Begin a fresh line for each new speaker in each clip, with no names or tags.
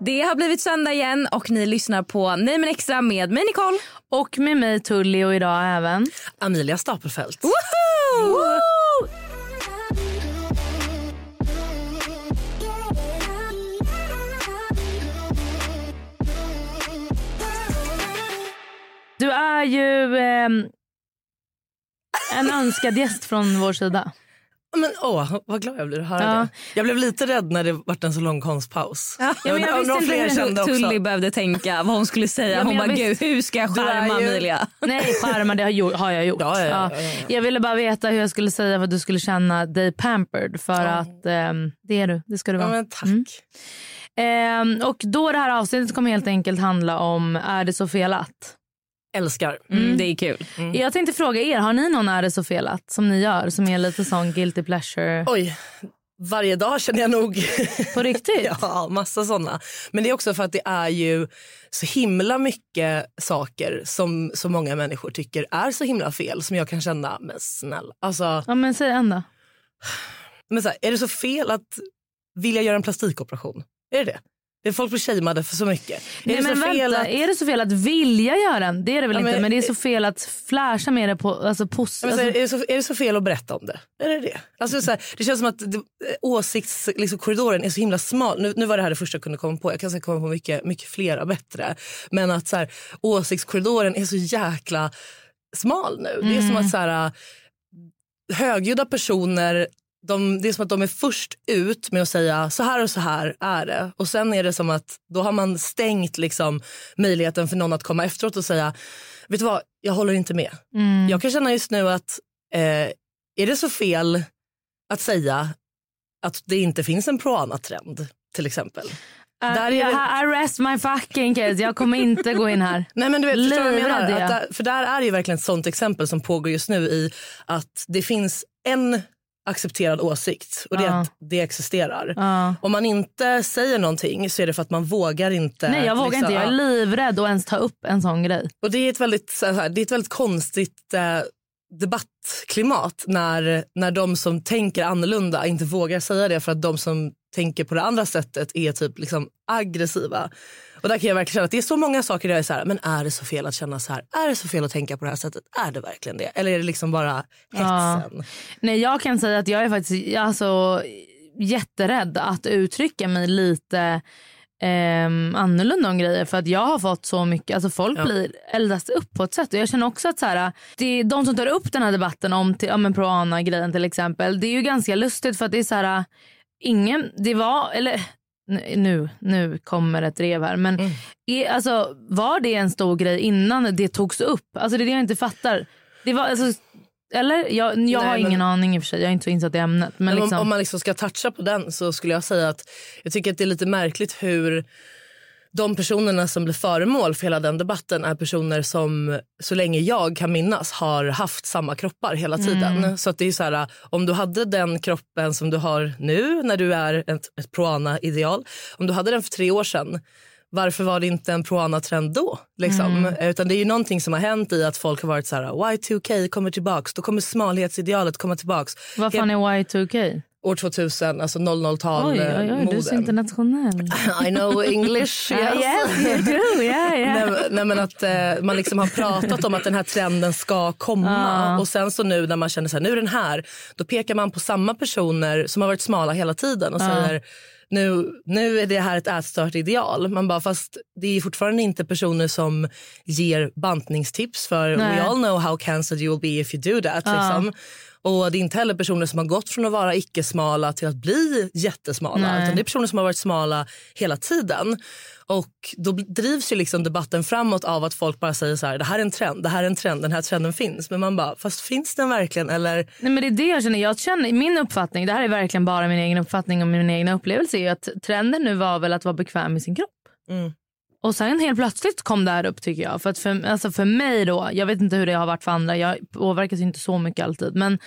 Det har blivit söndag igen och ni lyssnar på Nej men extra med mig Nicole.
Och med mig Tully och idag även.
Amelia Stapelfeldt.
Woho!
Du är ju ehm, en önskad gäst från vår sida.
Men åh, vad glad jag blir att höra
Ja.
det. Jag blev lite rädd när det vart en så lång konstpaus.
Ja, men jag
undrar
visste
om
inte
fler kände
hur
också.
Tully behövde tänka vad hon skulle säga.
Ja, men
hon bara
jag
gud
visste-
hur ska jag
Du är
charma
ju-
Amelia?
Nej, charmar det har, gjort, har jag gjort.
Ja, ja, ja, ja.
Jag ville bara veta hur jag skulle säga för att du skulle känna dig pampered. För att ehm, det är du. Det ska du
Ja,
vara.
men tack.
Mm. Ehm, och då det här avsnittet kommer helt enkelt handla om Är det så felat?
Älskar.
Mm, det är kul.
Jag tänkte fråga er, har ni någon Är det så felat som ni gör? Som är lite sån guilty pleasure
Oj, varje dag känner jag nog.
på riktigt?
ja, massa såna. Men det är också för att det är ju så himla mycket saker som så många människor tycker är så himla fel som jag kan känna, men snälla. Alltså,
Ja, men säg en då.
men så här, är det så fel att vilja göra en plastikoperation? Är det det? det? är Folk blir shameade för så mycket.
Nej,
är det
men
så fel
vänta,
att...
Är det så fel att vilja göra den? Det är det väl
Ja,
inte. Men,
men-
det är så fel att flasha med det på... Alltså, pos-
Ja, Men
alltså,
så här, är, det så, är det så fel att berätta om det? Är det, det? Alltså, så här, det känns som att det, åsiktskorridoren liksom, korridoren är så himla smal. Nu, nu var det här det första jag kunde komma på. Jag kan säkert komma på mycket, mycket flera bättre. Men att så här, åsiktskorridoren är så jäkla smal nu. Det är som
Mm.
att så här, eh, högljudda personer de, det är som att de är först ut med att säga så här och så här är det. Och sen är det som att då har man stängt liksom, möjligheten för någon att komma efteråt och säga vet du vad, jag håller inte med.
mm.
Jag kan känna just nu att eh, är det så fel att säga att det inte finns en proana-trend till exempel?
Äh,
där är
jag,
det-
I rest my fucking case. Jag kommer inte gå in här.
Nej men du vet, förstår du vad jag menar?
Livrädd är
Att
jag.
där, för där är ju verkligen ett sånt exempel som pågår just nu i att det finns en accepterad åsikt och det är
Ja.
att det existerar.
Ja.
Om man inte säger någonting så är det för att man vågar inte.
Nej, jag vågar
liksom,
inte. Jag
ja.
är livrädd att ens ta upp en sån grej.
Och det är ett väldigt, så här, det är ett väldigt konstigt eh, debattklimat när, när de som tänker annorlunda inte vågar säga det för att de som tänker på det andra sättet är typ liksom aggressiva. Och där kan jag verkligen känna att det är så många saker där jag är så här, men är det så fel att känna så här? Är det så fel att tänka på det här sättet? Är det verkligen det? Eller är det liksom bara
Ja.
hetsen?
Nej, jag kan säga att jag är faktiskt alltså, jätterädd att uttrycka mig lite ehm, annorlunda om grejer. För att jag har fått så mycket, alltså folk blir eldas upp på ett sätt. Och jag känner också att så här, det är de som tar upp den här debatten om till, ja, men Proana-grejen till exempel. Det är ju ganska lustigt för att det är så här, ingen, det var, eller n- nu, nu kommer ett drev här. Men är, alltså, var det en stor grej innan det togs upp? Alltså det är det jag inte fattar. Det var, alltså, eller? Jag, jag har
men-
ingen aning i och för sig. Jag är inte så insatt i ämnet. Men,
Men
liksom,
om, om man liksom ska toucha på den så skulle jag säga att jag tycker att det är lite märkligt hur de personerna som blir föremål för hela den debatten är personer som så länge jag kan minnas har haft samma kroppar hela
Mm.
tiden. Så att det är så här, om du hade den kroppen som du har nu när du är ett, ett proana-ideal, om du hade den för tre år sedan varför var det inte en proana-trend då? Liksom?
Mm.
Utan det är ju någonting som har hänt i att folk har varit så här, Y2K kommer tillbaks, då kommer smalhetsidealet komma tillbaks
vad fan är Y2K?
år 2000, alltså
Oj, oj, oj, du är så
00-tal-moden.
internationell.
I know English,
Ah,
yes.
yes,
alltså.
you do. Yeah,
Nej,
yeah.
men- nej, men att eh, man liksom har pratat om att den här trenden ska komma och sen så nu när man känner så här, nu är den här, då pekar man på samma personer som har varit smala hela tiden och säger nu, nu är det här ett ätstört ideal. Man bara, fast det är fortfarande inte personer som ger bantningstips för
Nej.
we all know how cancer you will be if you do that. Liksom. Och det är inte heller personer som har gått från att vara icke-smala till att bli jättesmala.
Nej.
Utan det är personer som har varit smala hela tiden. Och då bl- drivs ju liksom debatten framåt av att folk bara säger så här, det här är en trend, det här är en trend, den här trenden finns. Men man bara, fast finns den verkligen? Eller
Nej, men det är det jag känner. Jag känner. Min uppfattning, det här är verkligen bara min egen uppfattning och min egna upplevelse, är att trenden nu var väl att vara bekväm i sin kropp.
Mm.
Och sen helt plötsligt kom det här upp tycker jag. För, att för, alltså för mig då, jag vet inte hur det har varit för andra, jag påverkas ju inte så mycket alltid. Men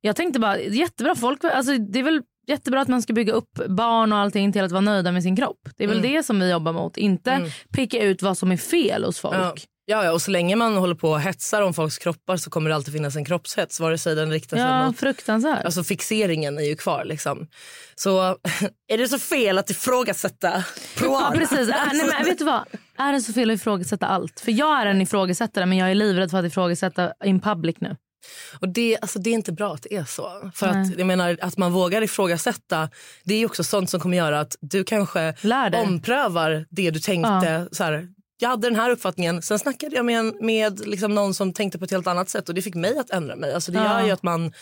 jag tänkte bara, jättebra folk, alltså det är väl jättebra att man ska bygga upp barn och allting till att vara nöjda med sin kropp. Det är väl
Mm.
det som vi jobbar mot, inte peka ut vad som är fel hos folk.
Ja. Ja, ja, och så länge man håller på och hetsar om folks kroppar så kommer det alltid finnas en kroppshets. Vare sig den riktar sig
Ja,
mot...
fruktansvärt.
Alltså fixeringen är ju kvar liksom. Så är det så fel att ifrågasätta?
Ja,
Proana?
precis. Äh, nej, men vet du vad? Är det så fel att ifrågasätta allt? För jag är en ifrågasättare men jag är livrädd för att ifrågasätta in public nu.
Och det, alltså, det är inte bra att det är så. För att, jag menar, att man vågar ifrågasätta det är också sånt som kommer göra att du kanske
Lär dig.
omprövar det du tänkte. Så här, jag hade den här uppfattningen, sen snackade jag med, en, med liksom någon som tänkte på ett helt annat sätt och det fick mig att ändra mig. Alltså, det
Ja.
gör ju att man...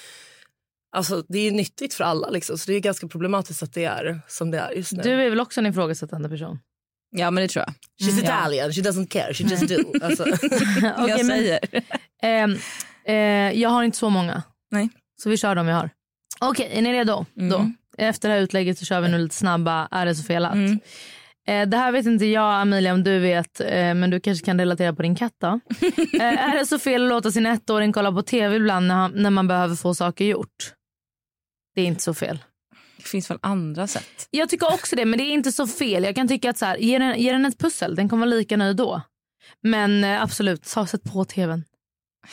Alltså, det är nyttigt för alla, liksom. så det är ganska problematiskt att det är som det är just nu.
Du är väl också en ifrågasättande person?
Ja, men det tror jag.
She's
Mm,
Italian, she doesn't care, she just do. Alltså.
Okej,
jag
men,
säger.
ehm, eh, jag har inte så många.
Nej.
Så vi kör dem jag har. Mm. Okej, är ni redo? Då. Efter det här utlägget så kör vi nu lite snabba är det så fel att. Eh, det här vet inte jag Amelia om du vet eh, men du kanske kan relatera på din katt då. eh, är det så fel att låta sin ettåring kolla på tv ibland när, han, när man behöver få saker gjort? Det är inte så fel.
Det finns väl andra sätt.
Jag tycker också det, men det är inte så fel. Jag kan tycka att så här, ge, den, ge den ett pussel, den kommer vara lika nöjd då. Men eh, absolut, så sätt på tvn.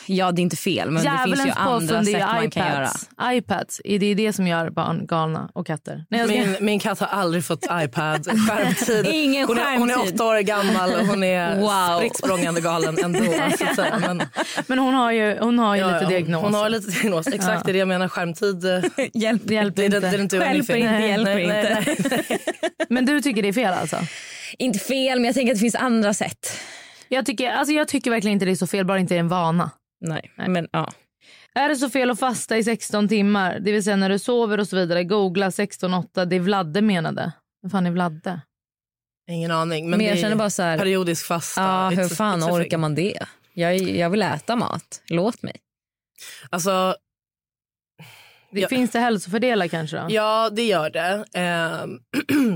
Ja, det är inte fel, men det finns ju
Djävulens
andra
påfund
sätt
det är
man
ju
kan göra.
iPads. iPads, det är det som gör barn galna och katter. Nej, jag ska...
Min, min katt har aldrig fått iPad. Skärmtid.
Ingen
hon, är, hon är
skärmtid.
åtta år gammal och hon är
Wow.
spritt språngande galen ändå. Alltså, så, här, men,
Men hon har ju, hon har ju
ja,
lite
ja,
diagnos.
Hon har lite diagnos. Exakt, det är det jag menar. Skärmtid. eh,
Hjälp.
Det hjälper
Det är det, det
inte.
är inte
Hjälper
anything.
inte, hjälper
nej.
Men du tycker det är fel alltså?
Inte fel, men jag tänker att det finns andra sätt.
Jag tycker, alltså, jag tycker verkligen inte det är så fel, bara inte det är en vana.
Nej, men ja.
Är det så fel att fasta i 16 timmar? Det vill säga när du sover och så vidare. Googla 16-8, det Vladde menade. Vad fan är Vladde?
Ingen aning. Men,
Men jag
det är
känner bara så här,
Periodisk fasta.
ja,
It's
hur
a-
fan
it's a thing.
orkar man det? Jag, jag vill äta mat, låt mig.
Alltså,
Det
Ja.
Finns det hälsofördelar kanske då?
Ja, det gör det. Ehm,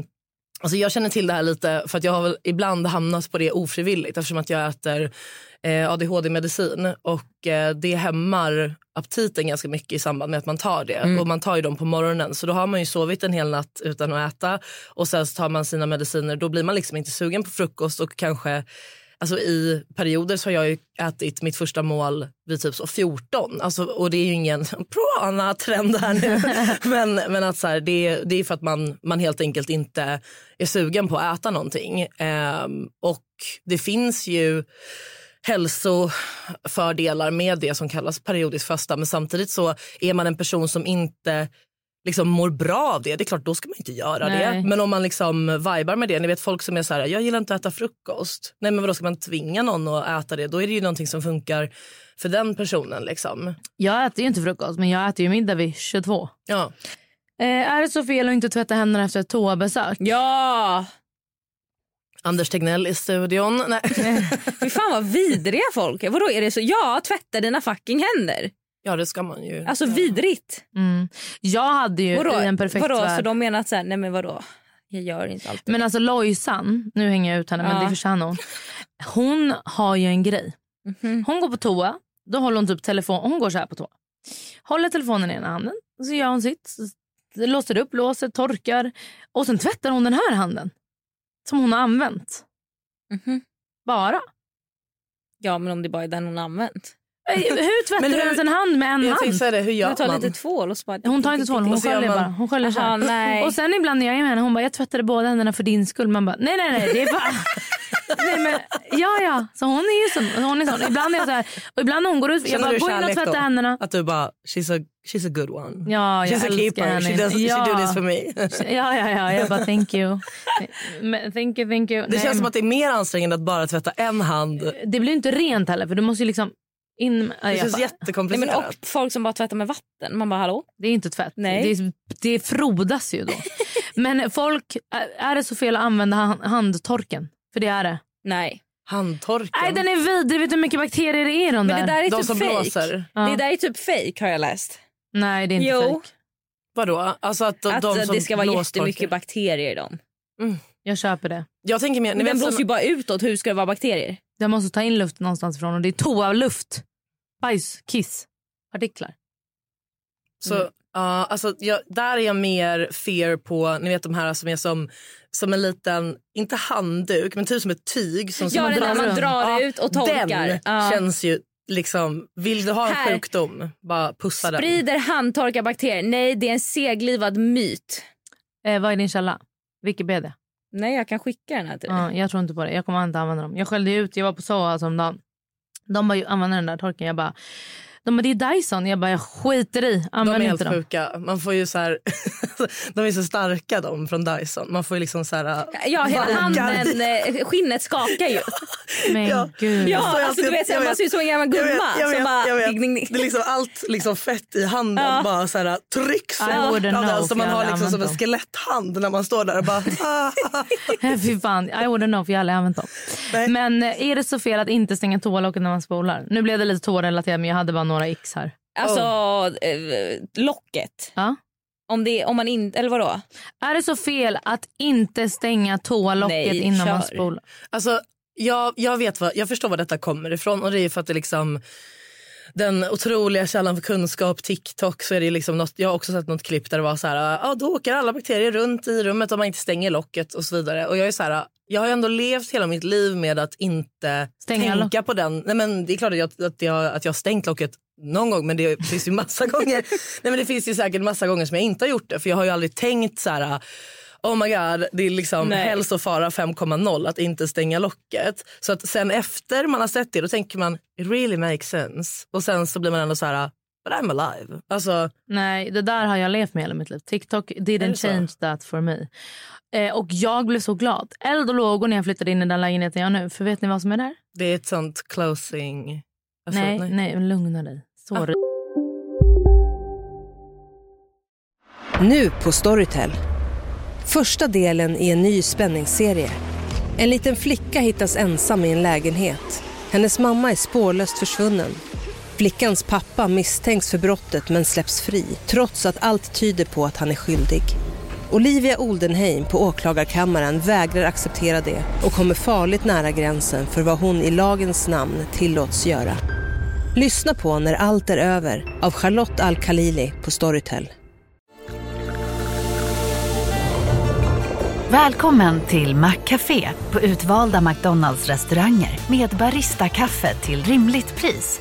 alltså jag känner till det här lite för att jag har väl ibland hamnat på det ofrivilligt eftersom att jag äter eh, ADHD-medicin och eh, det hämmar aptiten ganska mycket i samband med att man tar det. Och man tar ju dem på morgonen så då har man ju sovit en hel natt utan att äta och sen så tar man sina mediciner. Då blir man liksom inte sugen på frukost och kanske Alltså I perioder så har jag ju ätit mitt första mål vid typ så 14. Alltså, och det är ju ingen proana-trend här nu. men men att så här, det, det är för att man, man helt enkelt inte är sugen på att äta någonting. Ehm, och det finns ju hälsofördelar med det som kallas periodisk fasta. Men samtidigt så är man en person som inte liksom mår bra av det, det är klart då ska man inte göra
Nej.
det. Men om man liksom vibar med det, ni vet folk som är så här, jag gillar inte att äta frukost. Nej men vadå ska man tvinga någon att äta det? Då är det ju någonting som funkar för den personen liksom.
Jag äter ju inte frukost, men jag äter ju middag vid 22.
Ja.
Eh, är det så fel att inte tvätta händerna efter ett toabesök?
Ja!
Anders Tegnell i studion. Nej.
Fy fan vad vidriga folk är. Vadå är det så? Ja, tvätta dina fucking händer.
Ja det ska man ju.
Alltså vidrigt.
Mm. Jag hade ju
Vadå?
i en perfekt
vadå?
värld...
Så de menar att så här, nej men vadå? Jag gör inte allt.
Men alltså Lojsan, nu hänger jag ut henne men
Ja.
det förtjänar hon. Hon har ju en grej. Hon går på toa, då håller hon typ telefon, hon går så här på toa. Håller telefonen i ena handen, så gör hon sitt. Låser upp låset, torkar och sen tvättar hon den här handen. Som hon har använt.
Mhm.
Bara.
Ja men om det bara är den hon har använt.
Eh, Hur tvättar
Men
du
hur-
ens en hand med en
jag
hand?
tänkte säga det, hur
Hon
gör
tar
man?
lite tvål och så bara...
Hon tar inte tvål, hon
Och så gör
sköljer
man-
bara. Hon sköljer så
Aha,
här.
nej.
Och sen ibland när jag är med henne, hon bara jag tvättade båda händerna för din skull. Man bara nej nej nej det är bara, Nej, men, ja, ja. Så hon är ju sån. Hon är sån. Ibland är jag så här, och ibland när hon går ut, jag
Känner
bara
du
gå in och
kärlek
tvätta
då?
händerna.
Att du bara, she's a, she's a good one.
Ja, jag
she's a
älskar
keeper,
henne.
she, does,
ja.
she do this for me. Det
Ja, ja, ja, jag bara thank you. Men, thank you, thank you. Nej,
känns som att det är mer ansträngande att bara tvätta en hand. Det
det blir ju inte rent heller för du måste ju liksom in med- Ja, jag
känns
bara-
Nej, men,
jättekomplicerat.
och folk som bara tvättar med vatten. Man bara hallå?
Det är inte tvätt.
Nej.
Det, det frodas ju då. Men folk, är- är det så fel att använda han- handtorken? För det är det.
Nej.
Handtorken.
Nej, den är vidrig. Vet du hur mycket bakterier det är i de där?
Men det där är
De
typ
som
fake.
blåser.
Ja.
Det där är typ fake har jag läst.
Nej, det är inte
Jo.
fejk.
Vadå? Alltså att de,
att eh,
de som
det ska vara
blåstorkar.
jättemycket bakterier i dem.
Jag köper det.
Jag tänker mer... Ni
Men den
vet,
blåser
såna,
ju bara utåt. Hur ska det vara bakterier?
Jag måste ta in luft någonstans ifrån och det är toaluft. Bajs, kiss, partiklar.
så, ja, alltså, jag, där är jag mer fear på ni vet de här som är som, som en liten, inte handduk, men typ som ett tyg. Som
Ja,
som
den där man drar ut och
Den
torkar. Ja.
känns ju liksom... Vill du ha en
Här.
sjukdom, bara pussa den.
Sprider handtorkar bakterier? Nej, det är en seglivad myt.
Eh, vad är din källa? Wikipedia?
Nej, jag kan skicka den här till dig.
Ja, jag tror inte på det. Jag kommer inte använda dem. Jag skällde ut, jag var på Soha häromdagen. De bara, använder den där torken. Jag bara, de bara, det är Dyson. Jag bara, jag skiter i.
De är
Använd
helt
inte dem.
sjuka. Man får ju så här, de är så starka de från Dyson. Man får ju liksom så här...
Ja, hela
Vargar.
handen, eh, skinnet skakar ju.
Men
Ja.
gud.
Ja,
Så jag
alltså, du
ser-
vet, så
jag
här, man
vet.
ser ut som en gammal gumma.
jag vet,
som bara,
jag vet.
ding, ding, ding.
Det är liksom allt liksom fett i handen
Ja.
bara så här, äh, trycks
I
bort
wouldn't
av den.
know,
Så
för
man
jag
har
hade
liksom som en
använt dem.
skeletthand när man står där och bara... ah, ah.
Fy fan, I wouldn't know för jag har aldrig använt dem.
Nej.
Men eh, är det så fel att inte stänga toalocket när man spolar? Nu blev det lite toarelaterat men jag hade bara några x här.
Alltså, eh, locket.
Ja.
Om, det, om man inte... Eller vadå?
Är det så fel att inte stänga toalocket
Nej,
innan man
kör.
spolar?
Alltså, jag, jag, vet vad, jag förstår var detta kommer ifrån och det är för att det liksom den otroliga källan för kunskap, TikTok. Så är det liksom något, jag har också sett något klipp där det var så här, ah, då åker alla bakterier runt i rummet om man inte stänger locket och så vidare. Och jag är så här, jag har ju ändå levt hela mitt liv med att inte
Stänga
tänka på den. Nej, men det är klart att jag, att jag, att jag har stängt locket någon gång men det finns ju massa gånger. Nej, men det finns ju säkert massa gånger som jag inte har gjort det för jag har ju aldrig tänkt så här Oh my god, det är liksom hälsofara 5,0 att inte stänga locket. Så att sen efter man har sett det då tänker man it really makes sense. Och sen så blir man ändå så här but I'm alive. Alltså,
Nej, det där har jag levt med hela mitt liv. TikTok
det
didn't
så?
change that for me. Eh, och jag blev så glad. Eld och lågor när jag flyttade in i den lägenheten jag har nu. För vet ni vad som är där?
det är ett sånt closing... Alltså,
nej, nej, men lugna dig. Sorry.
Nu på Storytel. Första delen i en ny spänningsserie. En liten flicka hittas ensam i en lägenhet. Hennes mamma är spårlöst försvunnen. Flickans pappa misstänks för brottet men släpps fri trots att allt tyder på att han är skyldig. Olivia Oldenheim på åklagarkammaren vägrar acceptera det och kommer farligt nära gränsen för vad hon i lagens namn tillåts göra. Lyssna på När allt är över av Charlotte Al-Khalili på Storytel.
Välkommen till Maccafé på utvalda McDonalds restauranger med Baristakaffe till rimligt pris.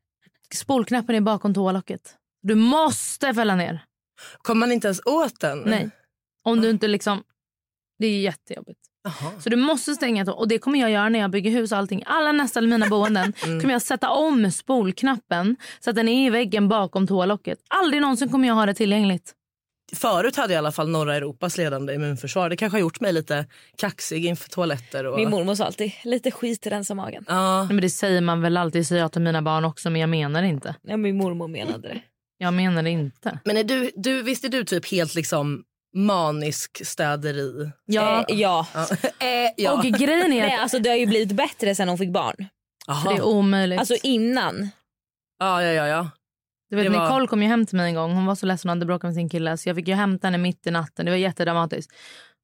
spolknappen är bakom toalocket. Du måste fälla ner.
Kommer man inte ens åt den?
Nej. Om du inte liksom... Det är jättejobbigt.
Jaha.
Så du måste stänga to- Och det kommer jag göra när jag bygger hus och allting. Alla nästan mina boenden
Mm.
kommer jag sätta om spolknappen så att den är i väggen bakom toalocket. Aldrig någonsin kommer jag ha det tillgängligt.
Förut hade jag i alla fall norra Europas ledande immunförsvar. Det kanske har gjort mig lite kaxig inför toaletter. Och...
Min mormor sa alltid lite skit i rensa magen.
Ja.
Nej, Men det säger man väl alltid, säger jag till mina barn också, men jag menar inte.
Ja, min mormor menade det.
Jag menar det inte.
Men är du, du, visst är du typ helt liksom manisk städeri?
Ja. Eh, ja.
Eh, ja.
Och grejen är
Nej,
att
alltså, det har ju blivit bättre sen hon fick barn.
Aha.
det är omöjligt.
Alltså innan.
ja, ja, ja, ja.
Du vet,
Det var-
Nicole kom ju hem till mig en gång. Hon var så ledsen och hade bråkat med sin kille. Så jag fick ju hämta henne mitt i natten. Det var jättedramatiskt.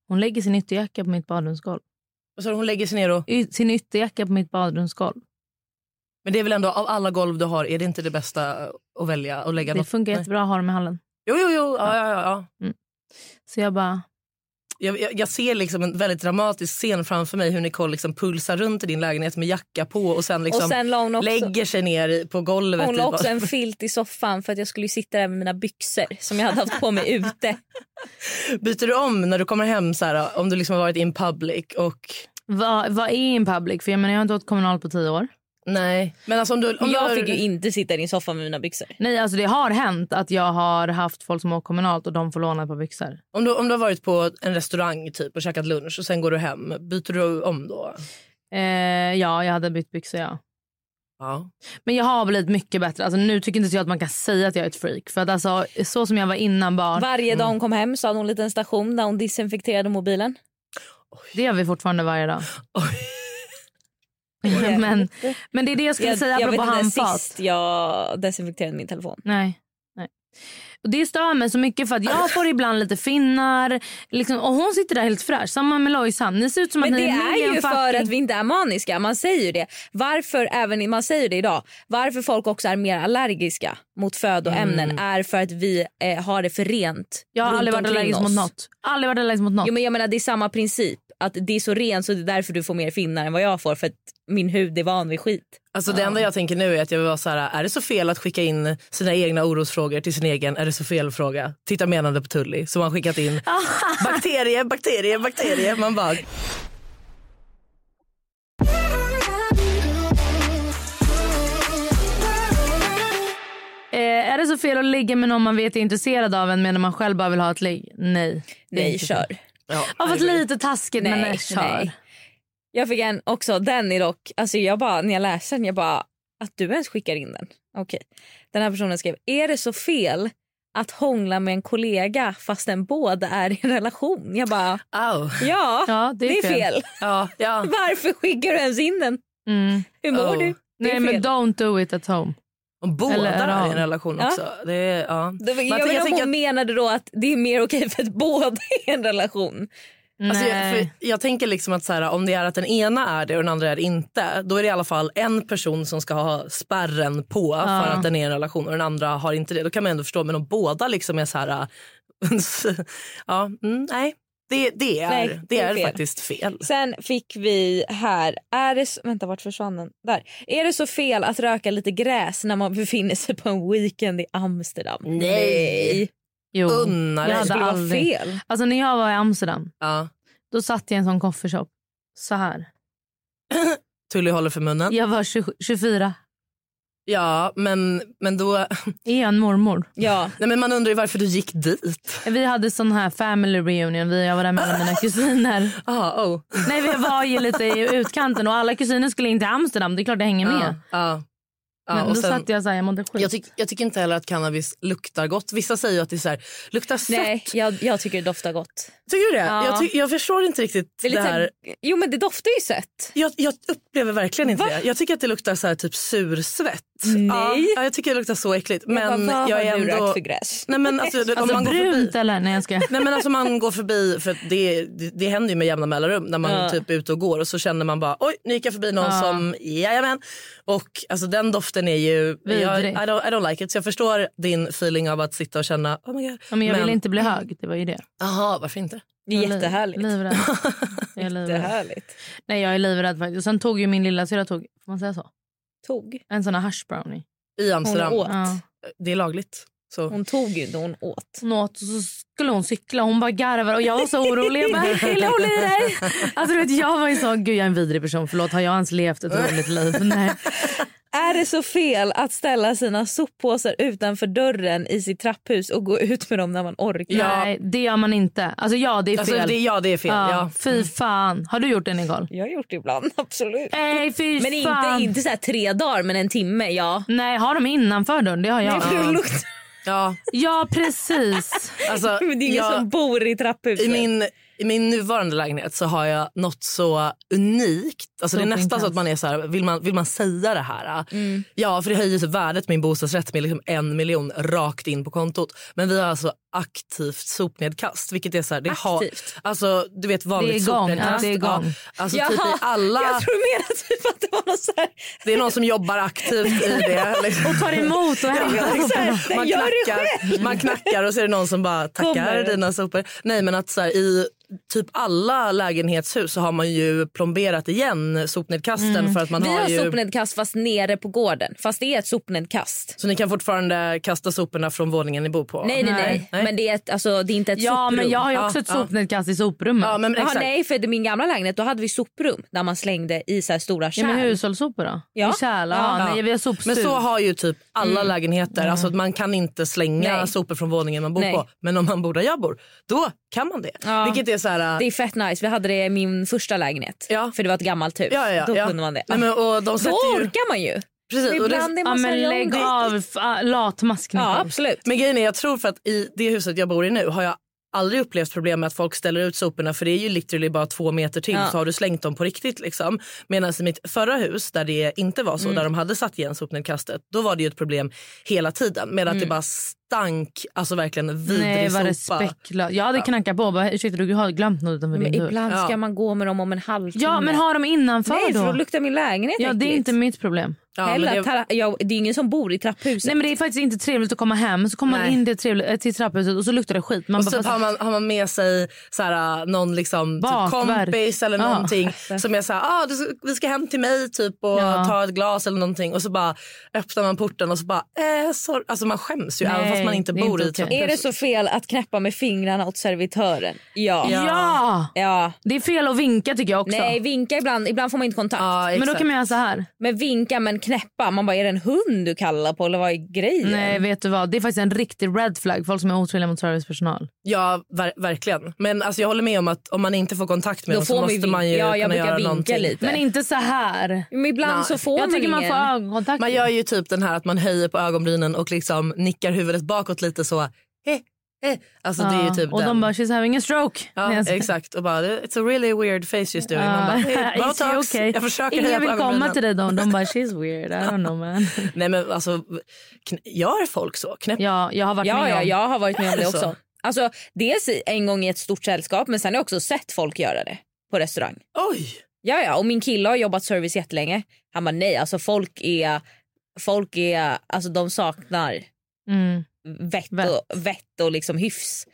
Hon lägger sin ytterjacka på mitt badrumsgolv.
Och så hon lägger sig ner och...
I sin ytterjacka på mitt badrumsgolv.
Men det är väl ändå, av alla golv du har, är det inte det bästa att välja? Att lägga
Det
något?
funkar
Nej.
jättebra att ha dem i hallen.
Jo, jo, jo. Ja, ja, ja, ja.
Så jag bara,
Jag, jag, jag ser liksom en väldigt dramatisk scen framför mig hur Nicole liksom pulsar runt i din lägenhet med jacka på och sen, liksom
och sen la hon också,
lägger sig ner i- på golvet. typ.
hon
i
la
bad-
också en filt i soffan för att jag skulle ju sitta där med mina byxor som jag hade haft på mig ute.
Byter du om när du kommer hem så här, om du liksom har varit in public? Och...
vad, vad är en public? För jag menar jag har inte åkt kommunal på tio år.
Nej. Men alltså om du, om du
Jag
har-
fick ju inte sitta i din soffa med mina byxor.
Nej alltså det har hänt att jag har haft folk som åkt kommunalt och de får låna ett par byxor.
Om du, om du har varit på en restaurang typ och käkat lunch och sen går du hem, byter du om då?
Eh, ja jag hade bytt byxor ja.
Ja.
Men jag har blivit mycket bättre. Alltså, nu tycker inte jag att man kan säga att jag är ett freak. För att alltså, så som jag var innan barn,
Varje
Mm.
dag hon kom hem så hade hon en liten station där hon desinfekterade mobilen.
det gör vi fortfarande varje dag. men, men det är det jag skulle
Jag,
säga
jag vet
apropå
inte ens
handfat.
sist jag desinfekterade min telefon.
Nej. nej. Och det stör mig så mycket för att jag får ibland lite finnar. Liksom, och hon sitter där helt fräsch. Samma med Lojsan. Ni ser ut som
Men
att ni
det är
Milligan
ju för
fucking-
att vi inte är maniska. Man säger ju det. Varför, även, i- man säger det idag. Varför folk också är mer allergiska mot födoämnen är för att vi eh, har det för rent
Mm. Jag har
runt
aldrig varit
omkring
allergisk mot
oss.
något. Aldrig varit allergisk mot något.
Jo, men jag menar, det är samma princip. Att Det är så rent så det är därför du får mer finnar än vad jag får. För att min hud är van vid skit.
Alltså Det enda jag tänker nu är att jag vill vara så här, är det så fel att skicka in sina egna orosfrågor till sin egen är det så fel-fråga? Titta menande på Tully som har skickat in bakterie, bakterie, bakterie. Man bara,
Eh, är det så fel att ligga med någon man vet är intresserad av en medan man själv bara vill ha ett ligg? Nej. Det är
Nej,
inte
kör.
ja,
Ja, fast lite taskigt men nej, kör.
Jag fick en också, den är dock, alltså jag bara, när jag läste den, jag bara, att du ens skickar in den. Okej. Den här personen skrev, är det så fel att hångla med en kollega fastän båda är i en relation? Jag bara,
Au.
ja,
Ja,
det, är fel.
Ja, ja.
Varför skickar du ens in den?
Mm.
Hur mår
Oh.
du? Det
Nej,
är
men
fel.
don't do it at home.
Om båda
Eller är
är i
de?
en relation
Ja.
också. Det är, ja.
Då- Jag,
jag
vet inte om hon
tänker att-
menade då att det är mer okej för att båda är i en relation.
Alltså jag,
nej.
för jag tänker liksom att så här, om det är att den ena är det och den andra är det inte då är det i alla fall en person som ska ha spärren på för att den är i en relation och den andra har inte det. Då kan man ändå förstå. Men om båda liksom är så här... äh, ja, mm, nej. Det, det är,
Nej,
det
det är
är
fel.
faktiskt fel.
Sen fick vi här... Är det, s- vänta, vart försvann den? Där. Är det så fel att röka lite gräs när man befinner sig på en weekend i Amsterdam? Nej!
Jo.
Unna dig.
Jag
Det
hade
skulle vara
aldrig.
fel.
Alltså när jag var i Amsterdam,
Ja.
då satt jag i en sån coffeeshop. Så här.
Tully håller för munnen. Ja,
Jag var 20, 24.
men, men då...
Är jag en mormor?
Ja.
Nej, men man undrar ju varför du gick dit.
Vi hade sån här family reunion. Vi, jag var där med alla mina kusiner.
Ah, oh.
Nej, vi var ju lite i utkanten och alla kusiner skulle in till Amsterdam. Det är klart det hänger med.
Ja, ja. Ja,
Men
och
då
sen-
satt jag så här, jag mådde skit.
Jag, tyck, jag tycker inte heller att cannabis luktar gott. Vissa säger ju att det är så här, luktar fett.
Nej, jag, jag tycker det doftar gott.
Tycker du det?
Ja.
Jag, ty, jag förstår inte riktigt
Det
det,
är lite
här.
så här, jo men det doftar ju sött.
Jag, jag upplever verkligen inte det. Jag tycker att det luktar så här, typ sursvett.
Nej.
Ja, jag tycker det luktar så äckligt.
jag
Men
bara,
jag,
vad
är
har du
ändå...
rökt för gräs?
Nej, men alltså, det- om
alltså
man går förbi...
brunt eller? Nej jag skojar.
Nej men alltså man går förbi, för att det, det, det händer ju med jämna mellanrum när man
Ja.
typ är ute och går och så känner man bara oj nu gick jag förbi någon
Ja.
som jajamän. Och alltså den doften är ju, jag, I,
Vidrig.
don't, I don't like it. Så jag förstår din feeling av att sitta och känna oh my god.
Ja, men jag
Men-
ville inte bli hög. Det var ju det.
Jaha varför inte?
Det är jättehärligt.
Livrädd. Jag är livrädd.
Jättehärligt.
Nej jag är livrädd faktiskt. Och sen tog ju min lilla syra tog, får man säga så?
Tog.
En sån här hash brownie.
I
Hon
Amsterdam.
åt.
Ja.
Det är lagligt. Så.
Hon tog ju inte, hon åt.
Hon åt och så skulle hon cykla. Hon bara garvar och jag var så orolig. Jag bara, "Hej, håll i dig. Alltså du vet jag var ju så, gud jag är en vidrig person. Förlåt har jag ens levt ett roligt liv? Nej.
Är det så fel att ställa sina soppåsar utanför dörren i sitt trapphus och gå ut med dem när man orkar?
Nej det gör man inte. Alltså ja det är fel.
Alltså, det, ja det är fel.
Ja,
Ja.
Fy fan. Har du gjort det Nicole?
Jag har gjort det ibland, absolut.
Nej fy
Men
fan.
inte, inte så här tre dagar, men en timme, ja.
Nej har de innanför dörren? Det har jag.
Nej, för det luktar-
Ja,
Ja precis.
alltså,
Men det är ingen
jag,
som bor i trapphuset.
i, min, I min nuvarande lägenhet så har jag något så unikt. Alltså, det är
Så
nästan
intenst.
så att man är så här, vill man, vill man säga det här? Ja, för det höjer så värdet med min bostadsrätt med liksom en miljon rakt in på kontot. Men vi har alltså aktivt sopnedkast. Vilket är så här, det har,
Aktivt.
alltså, du vet vanligt
Det är igång,
sopnedkast.
ja, det är igång.
Ja, alltså, typ
Jaha,
i alla,
Jag tror mer typ att det var någon så här...
det är någon som jobbar aktivt i det. liksom.
Tar emot och hämtar.
Så här
Man
den gör det själv.
knackar, man knackar och så är det någon som bara tackar
Kommer.
dina sopor. Nej men att så här, i typ alla lägenhetshus så har man ju plomberat igen sopnedkasten för att man
Mm. Vi
har,
har
ju...
sopnedkast fast nere på gården. Fast det är ett sopnedkast.
Så ni kan fortfarande kasta soporna från våningen ni bor på?
Nej, nej, nej.
Nej.
Men det är, ett, alltså, det är inte ett
Ja
soprum.
men jag har ju också
Ja,
ett
ja.
sopnedkast i soprummet.
Ja, men
Jaha,
exakt.
nej, för i min gamla lägenhet då hade vi soprum där man slängde i så här stora kärl.
Ja, men hushållssopor då?
Ja.
I kärl? Ja,
Ja.
Nej, vi har sopstug.
Men så har ju typ alla lägenheter. Alltså att man kan inte slänga
Mm. Nej.
sopor från våningen man bor
Nej.
på. Men om man bor där jag bor, då kan man det.
Ja.
Vilket är så här...
Det är fett nice. Vi hade det i min första lägenhet.
Ja.
För det var ett gammalt hus.
ja, ja,
då
ja.
kunde man det.
Nej, men, och de
Då
sätter ju...
orkar man ju.
Precis,
Men
och det-
ibland är
ja,
man så
men
här,
lägg
jag-
av f- ah, latmask Nicole.
Ja, absolut.
Men grejen är, jag tror för att i det huset jag bor i nu har jag aldrig upplevt problem med att folk ställer ut soporna för det är ju literally bara två meter till
Ja.
så har du slängt dem på riktigt. Liksom. Medan i mitt förra hus där det inte var så, där de hade satt igen sopnedkastet, då var det ju ett problem hela tiden med att det bara stank, alltså verkligen vidrig
Nej vad
sopa.
respektlöst. Jag hade knackat på och bara ursäkta du har glömt något utanför
Men
din dörr.
ibland ska
Ja.
man gå med dem om en halvtimme.
Ja men ha dem innanför
Nej, för
då.
då luktar min lägenhet
Ja det är
äckligt.
inte mitt problem.
Ja, men
Heller,
det-
att här- jag, det är ingen som bor i trapphuset.
Nej men det är faktiskt inte trevligt att komma hem så kommer man
Nej.
in till, trevligt, eh, till trapphuset och så luktar det skit. Man
Och
bara,
så
fast-
har man, har man med sig så här, någon liksom, typ
Bakverk.
kompis eller
Ja.
någonting som är så här, ah, du, ska- vi ska hem till mig typ och
Ja.
ta ett glas eller någonting och så bara öppnar man porten och så bara, eh, sorry. Alltså man skäms ju
Nej,
även fast man inte
det är
bor
inte
i typ-
okej.
trapphuset.
Är det så fel att knäppa med fingrarna åt servitören? Ja.
ja.
Ja.
Det är fel att vinka tycker jag också.
Nej, vinka ibland. Ibland får man inte kontakt.
Ja,
men då
exakt.
kan man göra så här.
Men vinka men knäppa. Man bara, är det en hund du kallar på eller vad är grejen?
Nej vet du vad det är faktiskt en riktig red flag folk som är otrevliga mot servicepersonal.
Ja, ver verkligen. Men alltså, jag håller med om att om man inte får kontakt med
Då
dem
får
så
man ju
måste man ju
vinka. Ja, jag
kunna
brukar
göra
vinka
någonting.
lite.
Men inte så här.
Men ibland
Nej.
så får
jag
man
tycker man
ingen.
får ögonkontakt.
Man gör ju typ den här att man höjer på ögonbrynen och liksom nickar huvudet bakåt lite så, eh, eh. Alltså det är ju
Ja,
typ
och
den.
de bara she's having a stroke.
Ja,
Nej, jag skojar.
exakt. Och bara, it's a really weird face just doing. Man bara, hey,
Ja,
botox.
is he okay?
Jag försöker
Ingen
höja
vill
på
komma
ögonbrynen.
till dig då. De bara she's weird. I don't know man.
Nej men alltså, kn- gör folk så? Knäpp.
Ja, jag har varit
Ja,
med
ja,
om.
jag har varit med om
Är
det
det
också.
så?
Alltså, dels i- en gång i ett stort sällskap men sen har jag också sett folk göra det på restaurang.
Oj!
Ja, ja, och min kille har jobbat service jättelänge. Han bara nej, alltså folk är, folk är, alltså de saknar
Mm.
vett
Vett.
och, vett och liksom hyfs.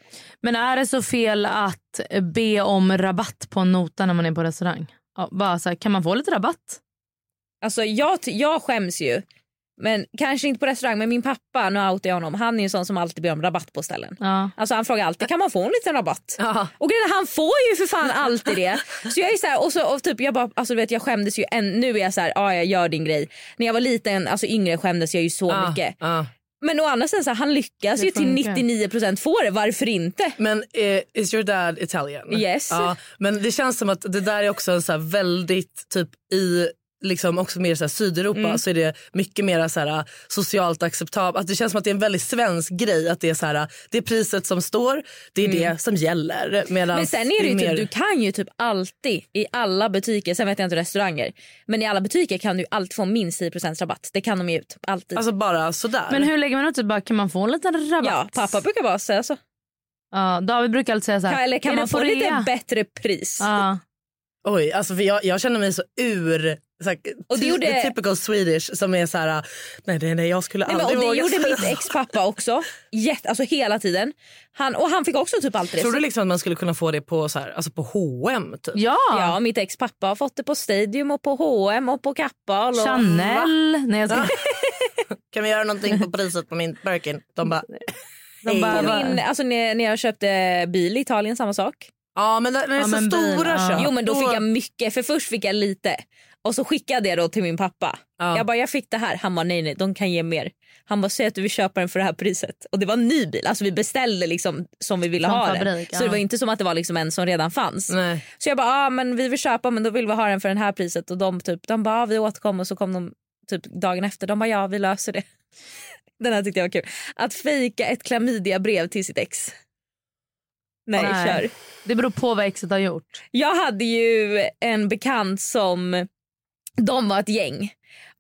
Men är det så fel att be om rabatt på en nota när man är på restaurang? Ja, bara så här, kan man få lite rabatt?
Alltså jag, ty- jag skäms ju. Men kanske inte på restaurang, men min pappa, nu outar jag honom, han är ju en sån som alltid ber om rabatt på ställen.
Ja.
Alltså han frågar alltid, kan man få en liten rabatt?
Ja.
Och grejen är, han får ju för fan alltid det. Så jag är så här, och så, och typ, jag bara, alltså du vet jag skämdes ju än, nu är jag så här, ja jag gör din grej. När jag var liten, alltså yngre skämdes jag ju så
Ja,
mycket.
ja.
Men å andra sidan, så här, han lyckas
Det
ju till
funkar.
99% få det. Varför inte?
Men eh, is your dad Italian?
Yes.
Ja, men det känns som att det där är också en så här väldigt typ i liksom också mer så här Sydeuropa
Mm.
så är det mycket mer så här eh, socialt acceptabelt. Att det känns som att det är en väldigt svensk grej att det är så här eh, det är priset som står, det
Mm.
är det som gäller. Medan
Men sen är det ju
mer-
typ, du kan ju typ alltid i alla butiker, sen vet jag inte restauranger, men i alla butiker kan du ju alltid få minst 10% rabatt. Det kan de ju ut, alltid.
Alltså bara sådär.
Men hur lägger man ut det? Bara, kan man få en liten
ja,
rabatt?
pappa brukar bara säga så.
Ja, David brukar alltid säga så
Kan,
här.
eller kan
"Är
man
det
få
på
lite
rea?"
bättre pris?
Ja.
Oj, alltså för jag, jag känner mig så ur... Så här,
Och det
ty-
gjorde-
Typical Swedish som är så här... Nej, nej, nej jag skulle
Nej, men, och
aldrig
det
våga
gjorde
säga
mitt
så.
ex-pappa också. Jätte, alltså hela tiden. Han, och han fick också typ alltid det.
Tror du
Så-
liksom att man skulle kunna få det på, så här, alltså på H&M typ?
Ja.
Ja, mitt ex-pappa har fått det på Stadium och på H&M och på Kappahl. Och...
Chanel. Nej, jag ska...
Kan vi göra någonting på priset på min Birkin? De bara...
De bara,
På min, alltså, när, när jag köpte bil i Italien, samma sak.
Ja, men när det är
Ja,
så
men bil,
stora
ja.
köp.
Jo men då fick jag mycket, för först fick jag lite och så skickade jag då till min pappa.
Ja.
Jag bara jag fick det här, han bara nej nej de kan ge mer. Han bara säg att du vill köpa den för det här priset. Och det var en ny bil, alltså vi beställde liksom som vi ville
Från
ha den.
fabrik,
Så det
ja.
var inte som att det var liksom en som redan fanns.
Nej.
Så jag bara ah, men vi vill köpa men då vill vi ha den för det här priset och de typ de bara ah, vi återkom och så kom de typ dagen efter de bara ja vi löser det. Den här tyckte jag var kul. Att fejka ett klamydiabrev till sitt ex. Nej,
Nej.
kör.
Det beror på vad exet har gjort.
Jag hade ju en bekant som... De var ett gäng.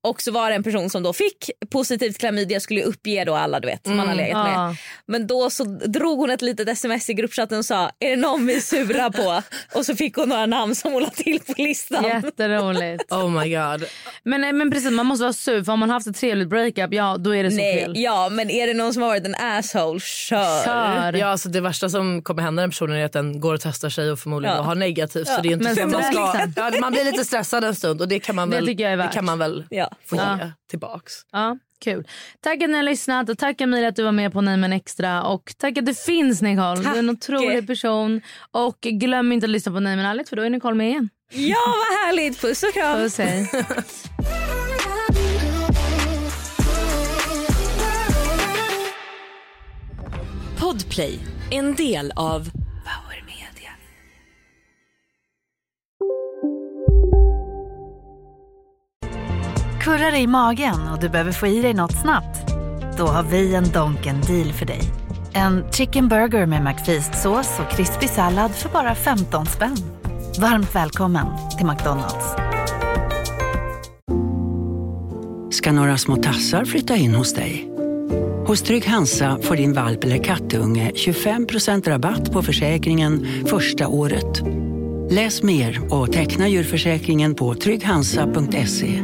Och så var det en person som då fick positivt klamydia skulle uppge då alla du vet som man har legat med.
Mm, Ja.
Men då så drog hon ett litet sms i gruppchatten och sa är det någon vi är sura på? och så fick hon några namn som hon la till på listan.
Jätteroligt.
Oh my god.
Men, nej, men precis, man måste vara sur. För om man har haft ett trevligt breakup, ja då är det så
Nej,
fel.
ja men är det någon som har varit en asshole, kör.
Kör.
Ja, alltså det värsta som kommer hända den personen är att den går och testar sig och förmodligen
Ja.
har negativt. Så det är ju inte
Men
så man, ska,
stressen.
ja, man blir lite stressad en stund och det kan man
Det
väl,
tycker jag är värt.
kan man väl
Ja.
få
Ja.
ge tillbaks.
Ja, kul. Tack att ni har lyssnat och tack Emilia att du var med på Nej men extra. Och tack att du finns Nicole. Du är en otrolig person. Och glöm inte att lyssna på Nej men ärligt för då är Nicole med igen.
Ja vad härligt, puss och kram.
Puss hej.
Podplay, en del av Power Media.
Kurrar det i magen och du behöver få i dig något snabbt? Då har vi en Donken deal för dig. En chicken burger med McFeast-sås och krispig sallad för bara 15 spänn. Varmt välkommen till McDonalds.
ska några små tassar flytta in hos dig. Hos Trygg Hansa får din valp eller kattunge 25% rabatt på försäkringen första året. Läs mer och teckna djurförsäkringen på trygghansa.se.